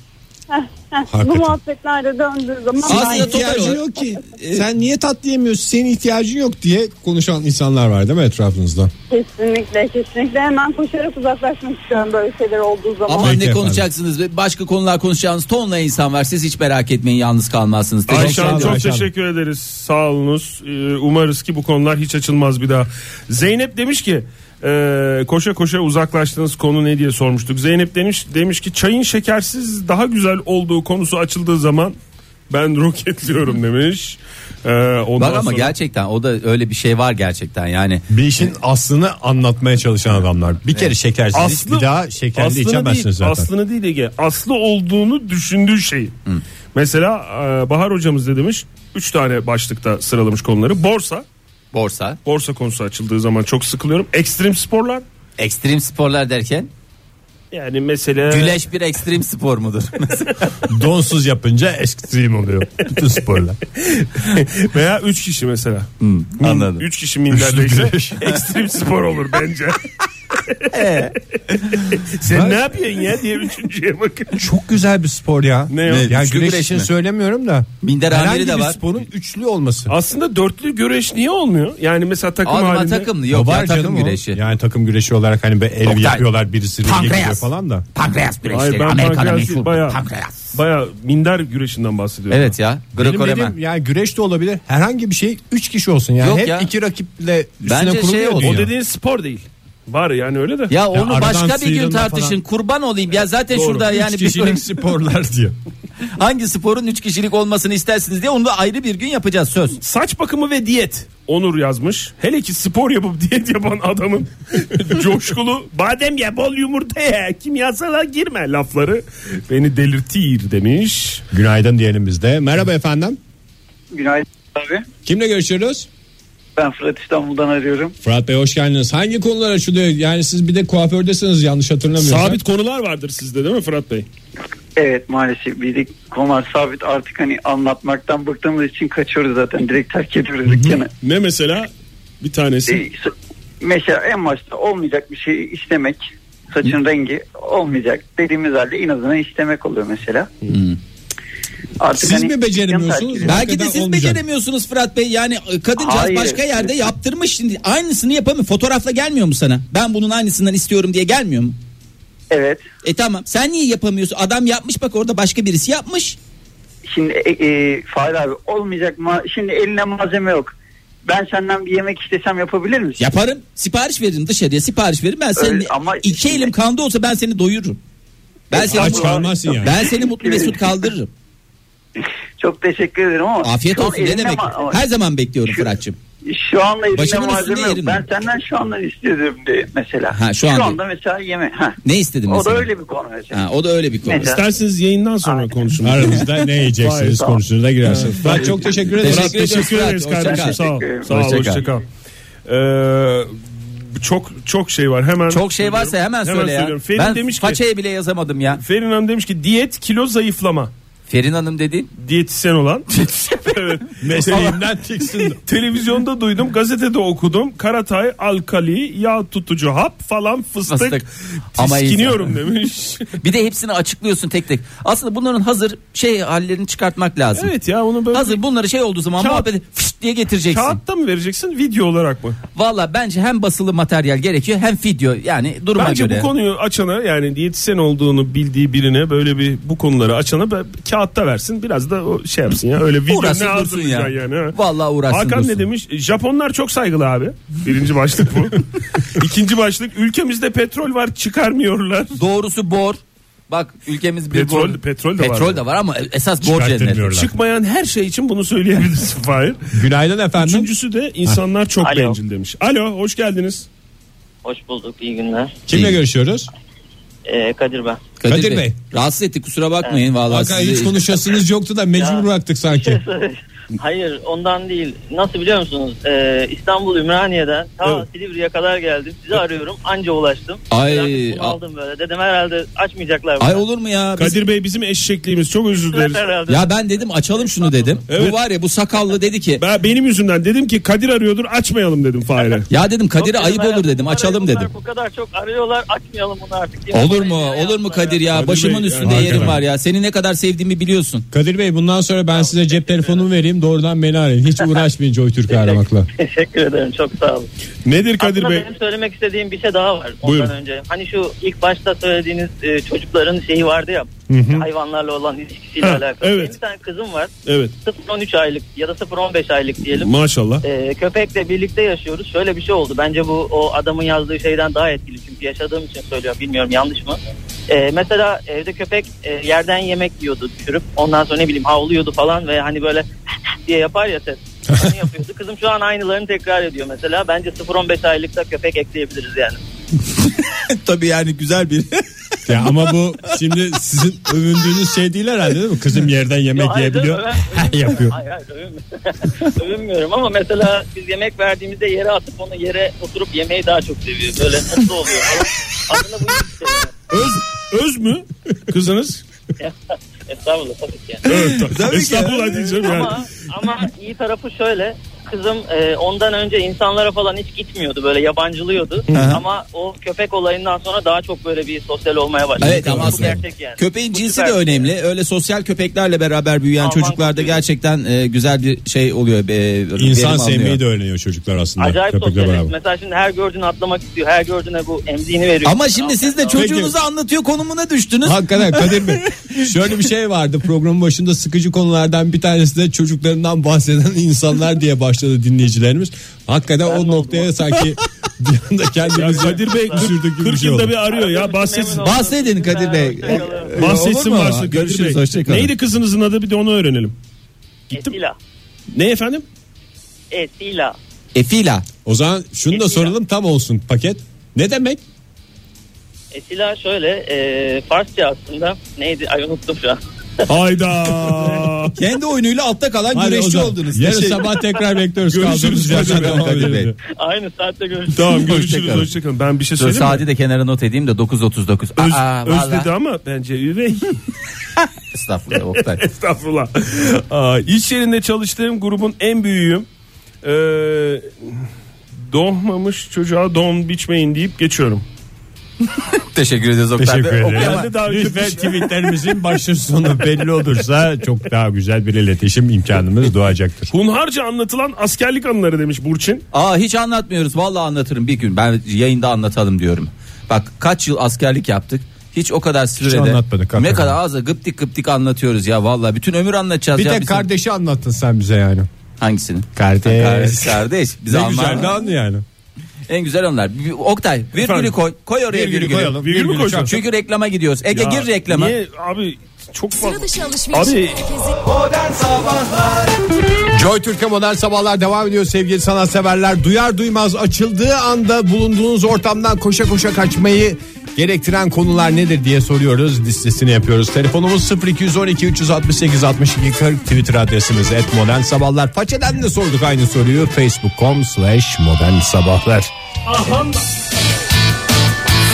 Heh, heh, Bu Hakikaten. muhabbetlerde döndüğü zaman Aslında ben- toparla. ihtiyacın yok ki. Sen niye tatlı yemiyorsun? Senin ihtiyacın yok diye konuşan insanlar var değil mi etrafınızda? Kesinlikle kesinlikle hemen koşarak uzaklaşmak istiyorum böyle şeyler olduğu zaman. Ama Peki ne efendim. konuşacaksınız ve başka konular konuşacağınız tonla insan var. Siz hiç merak etmeyin yalnız kalmazsınız. Teşekkür Ayşe sağ Hanım olun, ederim. çok Ayşe Hanım. teşekkür ederiz. Sağ olunuz. Ee, Umarız ki bu konular hiç açılmaz bir daha. Zeynep demiş ki e, koşa koşa uzaklaştığınız konu ne diye sormuştuk. Zeynep demiş demiş ki çayın şekersiz daha güzel olduğu konusu açıldığı zaman ben roketliyorum demiş. Ee, ondan Bak ama sonra- gerçekten o da öyle bir şey var gerçekten yani. Bir işin aslını anlatmaya çalışan adamlar. Bir kere şekersiz Aslı- bir daha şekerli aslını içemezsiniz değil, zaten. Aslını değil Ege. Aslı olduğunu düşündüğü şey. Mesela e, Bahar hocamız da demiş 3 tane başlıkta sıralamış konuları. Borsa, Borsa, borsa konusu açıldığı zaman çok sıkılıyorum. Ekstrem sporlar. ekstrem sporlar derken Yani mesela güleş bir ekstrem spor mudur? Donsuz yapınca ekstrem oluyor. Bütün sporlar. veya 3 kişi mesela. anladım. 3 kişi minderdeyse Üçlü güreş. [laughs] ekstrem spor olur bence. Ee. [laughs] Sen ne yapıyorsun ya diye üçüncüye [laughs] bakın. Çok güzel bir spor ya. Ne o? Yani Üçlü güreş güreş için mi? söylemiyorum da. Minder herhangi amiri de bir var. sporun üçlü olması. Aslında dörtlü güreş niye olmuyor? Yani mesela takım Alma halinde. takımlı yok var ya takım canım o. güreşi. Yani takım güreşi olarak hani bir el Oktay. yapıyorlar birisi ringe Pankreas. giriyor falan da. Pankreas güreşleri. Hayır, ben Amerika'da pankreas meşhur. değil, bayağı- Pankreas. Baya minder güreşinden bahsediyorum. Evet ya. Benim Greco dediğim yani güreş de olabilir. Herhangi bir şey 3 kişi olsun yani. Yok Hep ya. iki rakiple üstüne Bence şey kuruluyor olsun. O dünya. dediğin spor değil. Var yani öyle de. Ya onu aradan başka bir gün sıyrılma tartışın. falan. Kurban olayım ya zaten Doğru. şurada Üç yani bir kişilik sporlar diyor. [laughs] hangi sporun 3 kişilik olmasını istersiniz diye onu da ayrı bir gün yapacağız söz. Saç bakımı ve diyet. Onur yazmış. Hele ki spor yapıp diyet yapan adamın [laughs] coşkulu badem ye bol yumurta ye kimyasala girme lafları beni delirtir demiş. Günaydın diyelim biz de. Merhaba efendim. Günaydın abi. Kimle görüşüyoruz? Ben Fırat İstanbul'dan arıyorum. Fırat Bey hoş geldiniz. Hangi konular açılıyor? Yani siz bir de kuafördesiniz yanlış hatırlamıyorsam. Sabit konular vardır sizde değil mi Fırat Bey? Evet maalesef bir de konular sabit artık hani anlatmaktan bıktığımız için kaçıyoruz zaten direkt terk ediyoruz dükkanı. Ne mesela? Bir tanesi. Ee, so- mesela en başta olmayacak bir şeyi istemek saçın rengi olmayacak dediğimiz halde inadına istemek oluyor mesela. Artık Siz hani mi beceremiyorsunuz? yan takip- Hakikaten Belki de siz olmayacak. beceremiyorsunuz Fırat Bey. Yani e, kadıncağız Hayır. başka yerde yaptırmış şimdi aynısını yapamıyor. Fotoğrafla gelmiyor mu sana? Ben bunun aynısından istiyorum diye gelmiyor mu? Evet. E tamam. Sen niye yapamıyorsun? Adam yapmış bak orada başka birisi yapmış. Şimdi e, e, Fahir abi olmayacak mı? Şimdi eline malzeme yok. Ben senden bir yemek istesem yapabilir misin? Yaparım. Sipariş veririm dışarıya sipariş veririm. Ben seni Öyle ama iki şimdi- elim kanda olsa ben seni doyururum. Ben seni, Aç kalmazsın yani. ben seni mutlu mesut [laughs] kaldırırım. Çok teşekkür ederim ama Afiyet şu an olsun ne eline demek. ma- ama Her zaman bekliyorum Şu- Fırat'cığım. Şu anda elinde Başımın üstünde malzeme yok. yerim Ben yok. senden şu andan istiyorum diye mesela. Ha, şu anda. mesela yeme. Ha. Ne istedin O da mesela? öyle bir konu mesela. Ha, o da öyle bir konu. Mesela- İsterseniz yayından sonra konuşun. Aranızda [laughs] ne Hayır, yiyeceksiniz tamam. konusuna da girersiniz. Ben çok teşekkür ederim. Murat, Teşekkür ediyoruz teşekkür Fırat. ederiz Hoşça kardeşim. kal. Sağ ol. Teşekkür Sağ ol. ederim. Hoşça kal. Ee, çok çok şey var. Hemen Çok şey varsa hemen, söyle ya. söylüyorum. Ferin ben demiş ki façaya bile yazamadım ya. Ferin Hanım demiş ki diyet kilo zayıflama. Ferin Hanım [laughs] dediğin Diyetisyen [laughs] olan. evet. Mesleğimden tiksindim. Televizyonda duydum, gazetede okudum. Karatay, alkali, yağ tutucu hap falan fıstık. Fıstık. Ama iyi [laughs] Tiskiniyorum demiş. bir de hepsini açıklıyorsun tek tek. Aslında bunların hazır şey hallerini çıkartmak lazım. evet ya onu böyle Hazır bunları şey olduğu zaman Kağıt- muhabbeti fışt diye getireceksin. kağıtta mı vereceksin video olarak mı? Valla bence hem basılı materyal gerekiyor hem video yani duruma Bence göre. bu konuyu açana yani diyetisyen olduğunu bildiği birine böyle bir bu konuları açana be- kağıtta versin biraz da o şey yapsın ya öyle video Uğraşsın ne dursun ya. hazırlayacaksın yani. ha. Vallahi uğraşsın Hakan dursun. ne demiş? Japonlar çok saygılı abi. Birinci başlık [laughs] bu. İkinci başlık ülkemizde petrol var çıkarmıyorlar. Doğrusu bor. Bak ülkemiz bir Petrol- bor- petrol de var. petrol de var ama esas bor cenneti. Çıkartılmıyorlar. Çıkmayan her şey için bunu söyleyebilirsin [laughs] Fahir. Günaydın efendim. Üçüncüsü de insanlar çok Alo. bencil demiş. Alo hoş geldiniz. Hoş bulduk, iyi günler. Kimle İyi. görüşüyoruz? Ee, Kadir ben. [laughs] Kadir, Kadir Bey. Bey. Rahatsız ettik kusura bakmayın vallahi. Hakan sizi- hiç konuşasınız yoktu da mecbur Ya. bıraktık sanki. [laughs] Hayır, ondan değil. Nasıl biliyor musunuz? Ee, İstanbul Ümraniye'den ta Silivri'ye kadar geldim. Sizi arıyorum, anca ulaştım. Ay, Merak- a- aldım böyle. Dedim herhalde açmayacaklar. bunu. Ay olur mu ya? Biz- Kadir Bey bizim eşekliğimiz çok özür dileriz. [laughs] Herhalde. Ya ben dedim açalım şunu dedim. Evet. Bu var ya bu sakallı dedi ki Ben benim yüzümden dedim ki Kadir arıyordur açmayalım dedim Fahir'e. ya dedim Kadir'e Yok ayıp herhalde. olur dedim Bunlar- açalım bunlar dedim. Bu kadar çok arıyorlar, açmayalım bunu artık. Yine Olur bana mu? yine Olur mu yaptılar Kadir ya? Kadir Başımın Bey, üstünde yani. yerim var ya. Seni ne kadar sevdiğimi biliyorsun. Kadir Bey bundan sonra ben size cep telefonumu vereyim doğrudan beni arayın. Hiç uğraşmayın Joytürk'ü aramakla. [laughs] Teşekkür ederim, çok sağ olun. Nedir Kadir Aslında Bey? benim söylemek istediğim bir şey daha var. Ondan Buyurun. önce. Hani şu ilk başta söylediğiniz e, çocukların şeyi vardı ya. Hayvanlarla olan ilişkisiyle Ha, alakalı. evet. Benim bir tane kızım var. Evet 0-13 aylık ya da 0-15 aylık diyelim. maşallah. E, köpekle birlikte yaşıyoruz. Şöyle bir şey oldu. Bence bu o adamın yazdığı şeyden daha etkili. Çünkü yaşadığım için söylüyorum. Bilmiyorum yanlış mı? E, mesela evde köpek e, yerden yemek yiyordu düşürüp. Ondan sonra ne bileyim havluyordu falan ve hani böyle [laughs] diye yapar ya ses. Onu yapıyordu. Kızım şu an aynılarını tekrar ediyor mesela. Bence 0-15 aylıkta köpek ekleyebiliriz yani. [laughs] Tabii yani güzel [laughs] bir. ya ama bu şimdi sizin övündüğünüz şey değil herhalde değil mi? Kızım yerden yemek Yok, hayır, yiyebiliyor. canım, [laughs] övün- Yapıyor. Hayır hayır övünmüyorum. [laughs] övünmüyorum ama mesela biz yemek verdiğimizde yere atıp onu yere oturup yemeyi daha çok seviyor. Böyle nasıl oluyor? Aslında bu iyi bir şey. yani. Öz, öz mü kızınız? Estağfurullah tabii ki. yani. Evet, Estağfurullah diyeceğim yani. Ama, ama iyi tarafı şöyle. Kızım e, ondan önce insanlara falan hiç gitmiyordu. Böyle yabancılıyordu. ama o köpek olayından sonra daha çok böyle bir sosyal olmaya başladı. Evet ama Bu aslında gerçek yani. köpeğin Bu cinsi süper de bir şey. önemli. Öyle sosyal köpeklerle beraber büyüyen Aman çocuklarda kokuyor. gerçekten e, güzel bir şey oluyor. E, İnsan verim alınıyor. sevmeyi de öğreniyor çocuklar aslında. Acayip köpekle sosyalist. beraber. Mesela şimdi her gördüğünü atlamak istiyor. Her gördüğüne bu emziğini veriyor. Ama şimdi siz de çocuğunuzu anlatıyor konumuna düştünüz. Hakikaten Kadir Bey. Şöyle bir şey vardı programın başında sıkıcı konulardan bir tanesi de çocuklarından bahseden insanlar diye başladı dinleyicilerimiz. Hakikaten o noktaya [laughs] sanki bir anda Ya kendimizi Kadir Bey sürdük gibi bir 40 şey yılda oldu. bir arıyor ya bahsetsin. Bahsedin Kadir Bey. Olur Bahsetsin mu? varsın Görüşürüz, Kadir Bey. hoşça kalın. Neydi kızınızın adı bir de onu öğrenelim. Etila. Ne efendim? Etila. Efila. O zaman şunu da soralım tam olsun paket. Ne demek? Etila şöyle e, Farsça aslında neydi ay unuttum şu an. [laughs] Hayda. Kendi oyunuyla altta kalan Hadi güreşçi Ozan, oldunuz. Yarın Teşekkür- sabah tekrar bekliyoruz. Kaldığımız görüşürüz yerden Kadir Bey. devam Kadir Bey. edelim. Aynı saatte [laughs] görüşürüz. tamam görüşürüz Hoşçakalın. hoşçakalın. Ben bir şey Dur, söyleyeyim mi? saati de kenara not edeyim de 9.39. Öz, Aa, özledi vallahi. ama bence üvey. Estağfurullah Oktay. [laughs] Estağfurullah. Aa, iş yerinde çalıştığım grubun en büyüğüyüm. Ee, doğmamış çocuğa don biçmeyin deyip geçiyorum. Teşekkür ederiz Oktay Teşekkür Bey. ederim. Okuyamam. Herhalde daha şey- kötü Lütfen tweetlerimizin başı sonu belli olursa çok daha güzel bir iletişim imkanımız doğacaktır. Hunharca anlatılan askerlik anıları demiş Burçin. Aa hiç anlatmıyoruz. Vallahi anlatırım bir gün. Ben yayında anlatalım diyorum. Bak kaç yıl askerlik yaptık. Hiç o kadar sürede. anlatmadık hakikaten. Ne kadar az da gıptik gıptik anlatıyoruz ya vallahi. Bütün ömür anlatacağız Bir ya. tek bizim- kardeşi anlattın sen bize yani. Hangisini? Kardeş. Kardeş. Kardeş. Biz Ne Alman- güzel de anı yani. En güzel onlar. Bir- Oktay virgülü Efendim? koy. Koy oraya virgülü. Virgül mü koyacağım? Çünkü reklama gidiyoruz. Ege Ya, gir reklama. Niye abi çok fazla. Sıra dışı alışveriş Abi- merkezi. Joy Türk'e modern sabahlar devam ediyor sevgili sanatseverler. Duyar duymaz açıldığı anda bulunduğunuz ortamdan koşa koşa kaçmayı gerektiren konular nedir diye soruyoruz. Listesini yapıyoruz. Telefonumuz 0212 368 62 40 Twitter adresimiz et modern sabahlar. Façeden de sorduk aynı soruyu. Facebook.com slash modern sabahlar.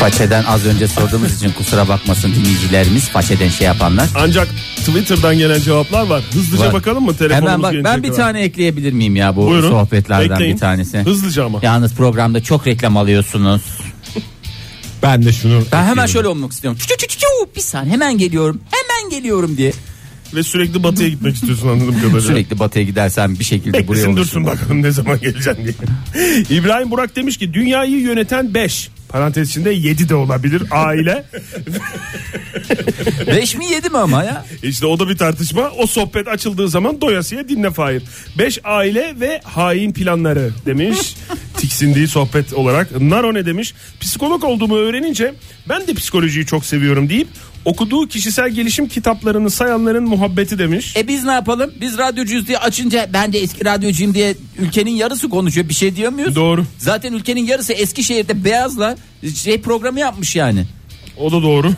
Façeden az önce sorduğumuz için kusura bakmasın dinleyicilerimiz. Façeden şey yapanlar. Ancak Twitter'dan gelen cevaplar var. Hızlıca Var. şey bakalım mı telefonumuz Hemen bak ben gelecek bir kadar? tane ekleyebilir miyim ya bu Buyurun. sohbetlerden Bekleyin. bir tanesi. Hızlıca ama. Yalnız programda çok reklam alıyorsunuz. Ben de şunu Ben hemen şöyle olmak istiyorum. Çu çu çu çu, bir saniye hemen geliyorum. Hemen geliyorum diye. Ve sürekli batıya gitmek istiyorsun anladığım kadarıyla. Sürekli batıya gidersem bir şekilde buraya Beklesin olursun. dursun bakalım ne zaman geleceksin diye. [laughs] İbrahim Burak demiş ki dünyayı yöneten 5 parantez içinde 7 de olabilir aile. Beş mi yedi mi ama ya? işte o da bir tartışma. O sohbet açıldığı zaman doyasıya dinle Fahir. 5 aile ve hain planları demiş. Tiksindiği sohbet olarak. Naro ne demiş? Psikolog olduğumu öğrenince ben de psikolojiyi çok seviyorum deyip okuduğu kişisel gelişim kitaplarını sayanların muhabbeti demiş. E biz ne yapalım? Biz radyocuyuz diye açınca ben de eski radyocuyum diye ülkenin yarısı konuşuyor. Bir şey diyemiyoruz. Doğru. Zaten ülkenin yarısı Eskişehir'de Beyaz'la şey programı yapmış yani. O da doğru.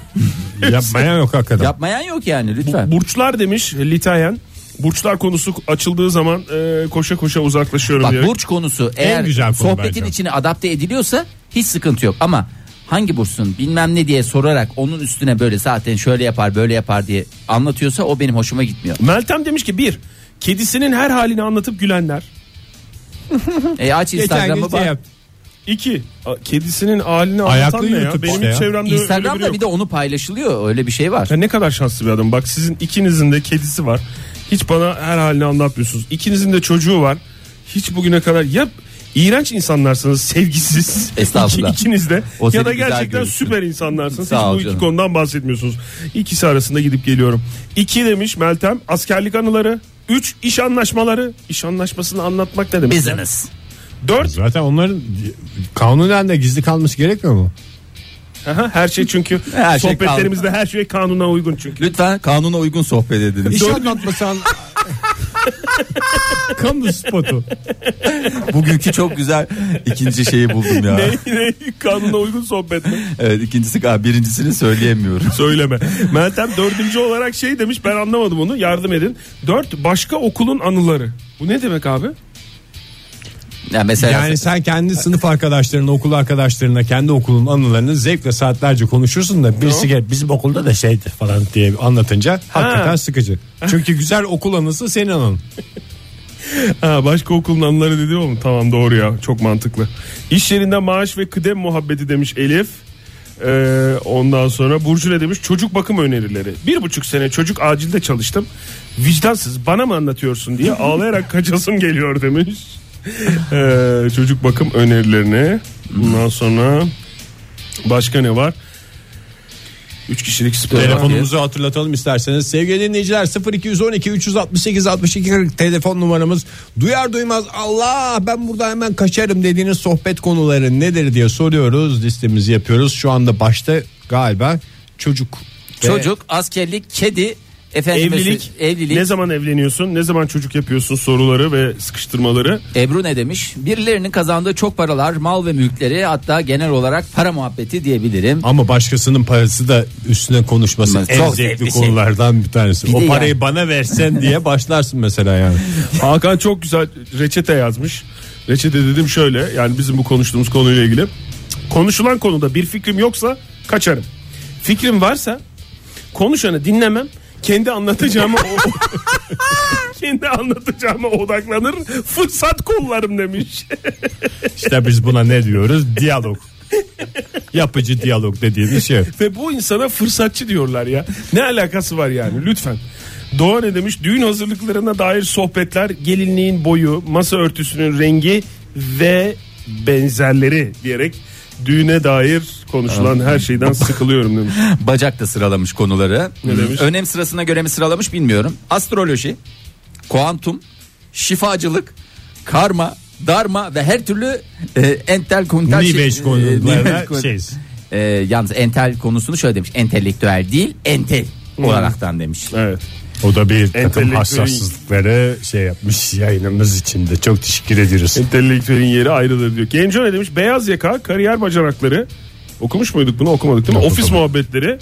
Yapmayan yok hakikaten. Yapmayan yok yani lütfen. Burçlar demiş Litayen. Burçlar konusu açıldığı zaman e, koşa koşa uzaklaşıyorum Bak diyor. burç konusu eğer güzel konu sohbetin bence. içine adapte ediliyorsa hiç sıkıntı yok ama hangi burçsun bilmem ne diye sorarak onun üstüne böyle zaten şöyle yapar böyle yapar diye anlatıyorsa o benim hoşuma gitmiyor. Meltem demiş ki bir kedisinin her halini anlatıp gülenler. E aç Instagram'ı şey bak. İki a- kedisinin halini Ayaklı anlatan ne ya? YouTube Benim işte hiç ya. çevremde öyle biri Instagram'da yok. bir de onu paylaşılıyor öyle bir şey var. Ya ne kadar şanslı bir adam. Bak sizin ikinizin de kedisi var. Hiç bana her halini anlatmıyorsunuz. İkinizin de çocuğu var. Hiç bugüne kadar ya iğrenç insanlarsınız sevgisiz. [laughs] [laughs] Estağfurullah. İki- ikiniz de. O seni ya da güzel gerçekten görürsün. süper insanlarsınız. Sağ ol Hiç bu iki canım. konudan bahsetmiyorsunuz. İkisi arasında gidip geliyorum. İki demiş Meltem askerlik anıları. Üç iş anlaşmaları. İş anlaşmasını anlatmak ne demek? ya? Business. Dört Zaten onların kanunen de gizli kalması gerekmiyor mu? Aha, her [laughs] şey çünkü Her şey sohbetlerimizde her şey kanuna uygun [laughs] çünkü. Lütfen kanuna uygun sohbet ediniz. İş anlatmasan kamu [laughs] spotu. Bugünkü çok güzel ikinci şeyi buldum ya. Ne, ne kanuna uygun sohbet mi? Evet ikincisi ha, birincisini söyleyemiyorum. Söyleme. Meltem dördüncü olarak şey demiş ben anlamadım onu yardım edin. Dört başka okulun anıları. Bu ne demek abi? Ya mesela Yani sen kendi sınıf arkadaşlarına, okul arkadaşlarına, kendi okulun anılarını zevkle saatlerce konuşursun da birisi gelip bizim okulda da şeydi falan [laughs] diye anlatınca hakikaten sıkıcı. Çünkü güzel okul anısı senin anın. Ha, başka okulun anıları dedi oğlum. Tamam doğru ya çok mantıklı. İş yerinde maaş ve kıdem muhabbeti demiş Elif. Ee, ondan sonra Burcu ne demiş? Çocuk bakım önerileri. Bir buçuk sene çocuk acilde çalıştım. Vicdansız bana mı anlatıyorsun diye ağlayarak kaçasım geliyor demiş. Ee, çocuk bakım önerilerini. Ondan sonra başka ne var? Üç kişilik spor. Telefonumuzu hatırlatalım isterseniz. Sevgili dinleyiciler 0212 368 62 40 telefon numaramız. Duyar duymaz Allah ben burada hemen kaçarım dediğiniz sohbet konuları nedir diye soruyoruz. Listemizi yapıyoruz. Şu anda başta galiba çocuk. ve çocuk, askerlik, kedi, efendim Evlilik. evlilik. Ne zaman evleniyorsun? Ne zaman çocuk yapıyorsun soruları ve sıkıştırmaları. Ebru ne demiş? Birilerinin kazandığı çok paralar, mal ve mülkleri hatta genel olarak para muhabbeti diyebilirim. Ama başkasının parası da üstüne konuşması Çok en zevkli zevkli şey. konulardan bir tanesi. Bir de o parayı yani. bana versen diye başlarsın [laughs] mesela yani. Hakan çok güzel reçete yazmış. Reçete dedim şöyle yani bizim bu konuştuğumuz konuyla ilgili. Konuşulan konuda bir fikrim yoksa kaçarım. Fikrim varsa konuşanı dinlemem. [laughs] Kendi anlatacağımı o- ne anlatacağıma odaklanır fırsat kollarım demiş. İşte biz buna ne diyoruz? Diyalog. Yapıcı diyalog dediğimiz şey. Ve bu insana fırsatçı diyorlar ya. Ne alakası var yani lütfen. Doğa ne demiş? Düğün hazırlıklarına dair sohbetler, gelinliğin boyu, masa örtüsünün rengi ve benzerleri diyerek düğüne dair konuşulan her şeyden sıkılıyorum demiş. Bacak da sıralamış konuları. demiş? Önem sırasına göre mi sıralamış bilmiyorum. Astroloji, kuantum, şifacılık, karma, darma ve her türlü e, entel kontel şey- New Age konularına şeyiz. E, yalnız entel konusunu şöyle demiş. Entelektüel değil, entel olaraktan demiş. Evet. O da bir takım Entelektüel- hassaslıkları şey yapmış yayınımız için de çok teşekkür ediyoruz. E, Entelektüelin yeri ayrıdır diyor. Genco ne demiş? Beyaz yaka, kariyer bacanakları. Okumuş muyduk bunu? Okumadık değil mi? Yok, Ofis okumadım. muhabbetleri.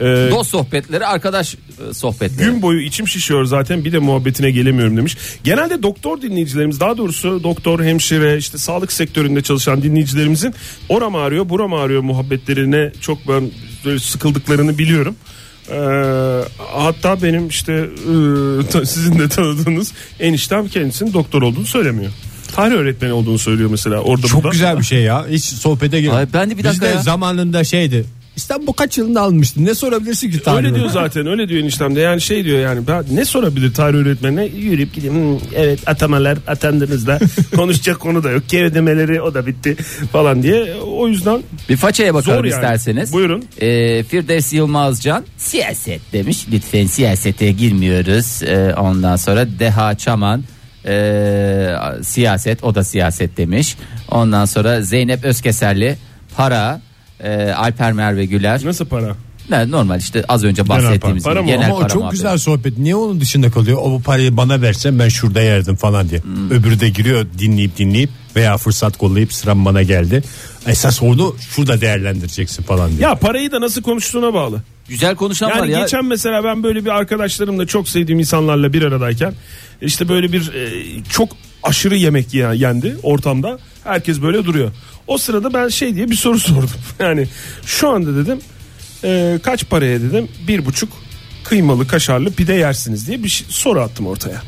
Ee, Dost sohbetleri, arkadaş e, sohbetleri. Gün boyu içim şişiyor zaten bir de muhabbetine gelemiyorum demiş. Genelde doktor dinleyicilerimiz daha doğrusu doktor, hemşire işte sağlık sektöründe çalışan dinleyicilerimizin oram ağrıyor buram ağrıyor muhabbetlerine çok ben böyle sıkıldıklarını biliyorum. Ee, hatta benim işte e, [laughs] ta- sizin de tanıdığınız eniştem kendisinin doktor olduğunu söylemiyor. Tarih öğretmeni olduğunu söylüyor mesela orada burada. Çok güzel bir şey ya. Hiç sohbete girme. Ay ben de bir dakika Biz de ya. zamanında şeydi. İstanbul kaç yılında almıştın? Ne sorabilirsin ki tarihine? Öyle diyor zaten öyle diyor eniştem de yani şey diyor yani ben ne sorabilir tarih öğretmenine yürüyüp gideyim "Hmm, evet atamalar atandınız [laughs] da konuşacak konu da yok geri ödemeleri o da bitti falan diye o yüzden Bir façaya bakalım Zor yani. isterseniz. Buyurun. Ee, Firdevs Yılmazcan siyaset demiş. Lütfen siyasete girmiyoruz. Ee, ondan sonra Deha Çaman ee, siyaset o da siyaset demiş. Ondan sonra Zeynep Özkeserli para ee, Alper Merve Güler. nasıl para Ne, Normal işte az önce bahsettiğimiz para. Para gibi mı? genel Ama o para çok muhabbeti. güzel sohbet. Niye onun dışında kalıyor? O bu parayı bana versen ben şurada yerdim falan diye. Hmm. Öbürü de giriyor dinleyip dinleyip veya fırsat kollayıp sıram bana geldi. Esas onu şurada değerlendireceksin falan diye. ya parayı da nasıl konuştuğuna bağlı Güzel konuşan var yani ya. geçen mesela ben böyle bir arkadaşlarımla çok sevdiğim insanlarla bir aradayken işte böyle bir e, çok aşırı yemek ye- yendi ortamda herkes böyle duruyor o sırada ben şey diye bir soru [laughs] sordum yani şu anda dedim e, kaç paraya dedim bir buçuk kıymalı kaşarlı pide yersiniz diye bir şey- soru attım ortaya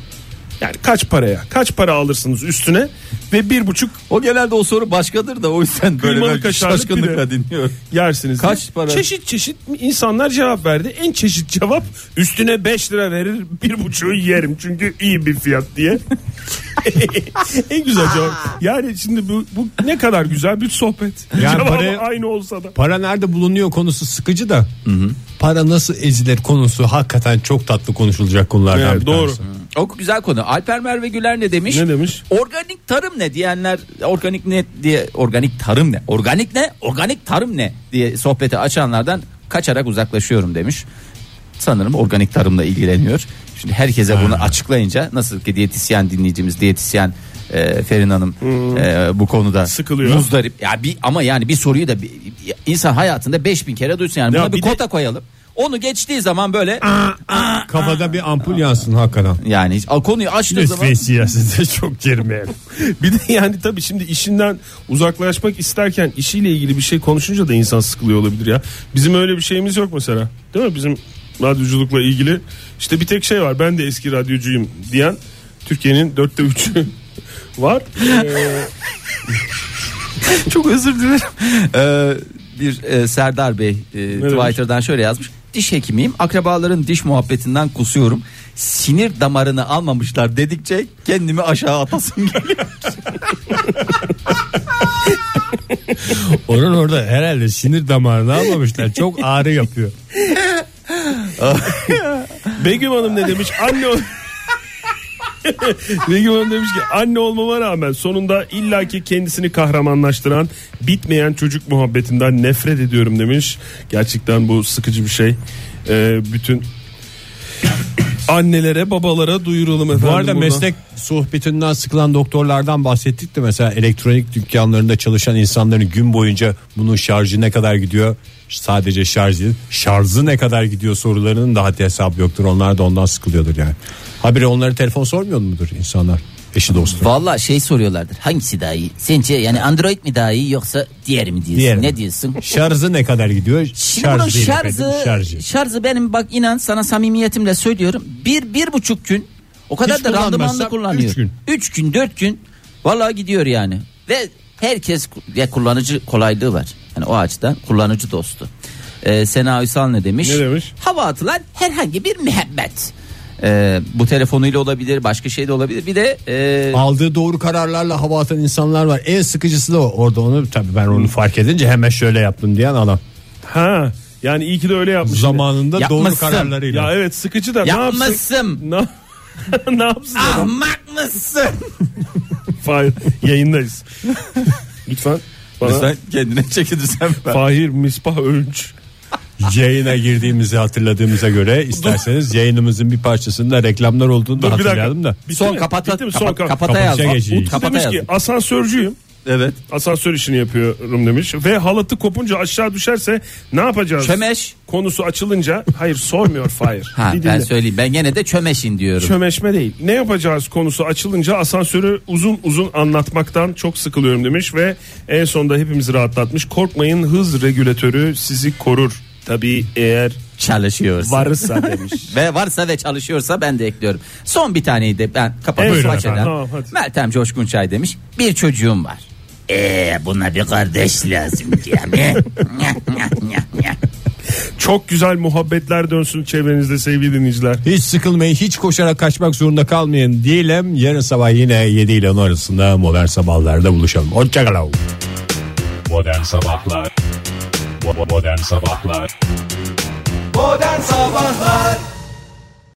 yani kaç paraya kaç para alırsınız üstüne ve bir buçuk O genelde o soru başkadır da o yüzden böyle Kıymalı ben kaşarlı şaşkınlıkla pide. dinliyorum. yersiniz. diye. Kaç para? Çeşit çeşit insanlar cevap verdi. En çeşit cevap üstüne 5 lira verir bir buçuğu yerim çünkü iyi bir fiyat diye. [laughs] en güzel cevap. Yani şimdi bu, bu ne kadar güzel bir sohbet. Yani Cevabı parayı- aynı olsa da. Para nerede bulunuyor konusu sıkıcı da. Para nasıl ezilir konusu hakikaten çok tatlı konuşulacak konulardan Yani bir doğru. tanesi. O güzel konu. Alper Merve Güler ne demiş? Ne demiş? Organik tarım ne diyenler organik ne diye organik tarım ne? Organik ne? Organik tarım ne diye sohbeti açanlardan kaçarak uzaklaşıyorum demiş. Sanırım organik tarımla ilgileniyor. Şimdi herkese bunu açıklayınca nasıl ki diyetisyen dinleyicimiz diyetisyen e, Ferin Hanım e, bu konuda Sıkılıyor. muzdarip. Ya bir ama yani bir soruyu da bir- insan hayatında 5000 kere duysun yani. Ya Buna bir, bir de- Ah. kota koyalım. Onu geçtiği zaman böyle Kafada bir ampul yansın hakikaten. yani hiç- konuyu açtığı zaman siyasete çok girmeyelim. [laughs] bir de yani tabii şimdi işinden uzaklaşmak isterken işiyle ilgili bir şey konuşunca da insan sıkılıyor olabilir ya. Bizim öyle bir şeyimiz yok mesela. Değil mi? Bizim radyoculukla ilgili işte bir tek şey var. Ben de eski radyocuyum diyen Türkiye'nin dörtte üçü [laughs] var. Ee, Çok özür dilerim. Ee, bir e, Serdar Bey e, Twitter'dan şöyle yazmış. Diş hekimiyim. Akrabaların diş muhabbetinden kusuyorum. Sinir damarını almamışlar dedikçe kendimi aşağı atasım [laughs] geliyor. Onun orada herhalde sinir damarını almamışlar. Çok ağrı yapıyor. Begüm Hanım ne demiş? Anne ol- [laughs] Begüm Hanım demiş ki anne olmama rağmen sonunda illaki kendisini kahramanlaştıran bitmeyen çocuk muhabbetinden nefret ediyorum demiş. Gerçekten bu sıkıcı bir şey. Ee, bütün annelere babalara duyuralım efendim. Bu arada buradan. meslek sohbetinden sıkılan doktorlardan bahsettik de mesela elektronik dükkanlarında çalışan insanların gün boyunca bunun şarjı ne kadar gidiyor? Sadece şarj değil, şarjı ne kadar gidiyor sorularının da haddi hesabı yoktur. Onlar da ondan sıkılıyordur yani. Habire onları telefon sormuyor mudur insanlar? Eşi dostu. Valla şey soruyorlardır. Hangisi daha iyi? Sence yani Android mi daha iyi yoksa diğer mi diyorsun? Diğer mi? ne diyorsun? Şarjı ne kadar gidiyor? Şimdi bunun değil şarjı, efendim, şarjı. şarjı benim bak inan sana samimiyetimle söylüyorum. Bir, bir buçuk gün O kadar Hiç da randımanlı kullanmazsam kullanıyor. üç gün. 3 gün 4 gün vallahi gidiyor yani. Ve herkes ya kullanıcı kolaylığı var. Yani o açıdan kullanıcı dostu. Ee, Sena Üsal ne demiş? Ne demiş? Hava atılan herhangi bir muhabbet. Ee, bu telefonuyla olabilir, başka şey de olabilir. Bir de e, Aldığı doğru kararlarla hava atan insanlar var. En sıkıcısı da o. Orada onu tabii ben onu fark edince hemen şöyle yaptım diyen adam. Ha yani iyi ki de öyle yapmış. Zamanında doğru Yapmışsın. kararlarıyla. Ya evet sıkıcı da ne yapsın? yapmasın. Ah. Ne, [laughs] ne yapsın? adam? Ahmak mısın? Fahir [laughs] yayındayız. Lütfen bana kendine çekilirsen Fahir Misbah Övünç. Yayına girdiğimizi hatırladığımıza göre isterseniz yayınımızın bir parçasında reklamlar olduğunu da Dur bir hatırlayalım da. dakika. Bitti Son mi? kapata, Bitti mi? Son kapa- kap- kapata kapatışa yaz. geçeceğiz. Ut kapata Demiş yaz. ki asansörcüyüm. Evet. Asansör işini yapıyorum demiş. Ve halatı kopunca aşağı düşerse ne yapacağız? Çömeş. Konusu açılınca hayır [laughs] sormuyor Fahir. Ha, Bir ben dinle. söyleyeyim ben gene de çömeşin diyorum. Çömeşme değil. Ne yapacağız konusu açılınca asansörü uzun uzun anlatmaktan çok sıkılıyorum demiş ve en sonunda hepimizi rahatlatmış. Korkmayın hız regülatörü sizi korur. Tabii eğer Çalışıyorsa. [laughs] varsa demiş. Ve varsa ve çalışıyorsa ben de ekliyorum. Son bir taneyi de ben kapatıyorum. Evet, Maç efendim. eden. Tamam, hadi. Meltem Coşkun Çay demiş. Bir çocuğum var. Eee Ee, buna bir kardeş lazım diye [laughs] mi? Çok güzel muhabbetler dönsün çevrenizde sevgili dinleyiciler. Hiç sıkılmayın, hiç koşarak kaçmak zorunda kalmayın diyelim. Yarın sabah yine 7 ile 10 arasında modern sabahlarda buluşalım. Hoşçakalın. Modern Sabahlar Bo- Modern Sabahlar Modern Sabahlar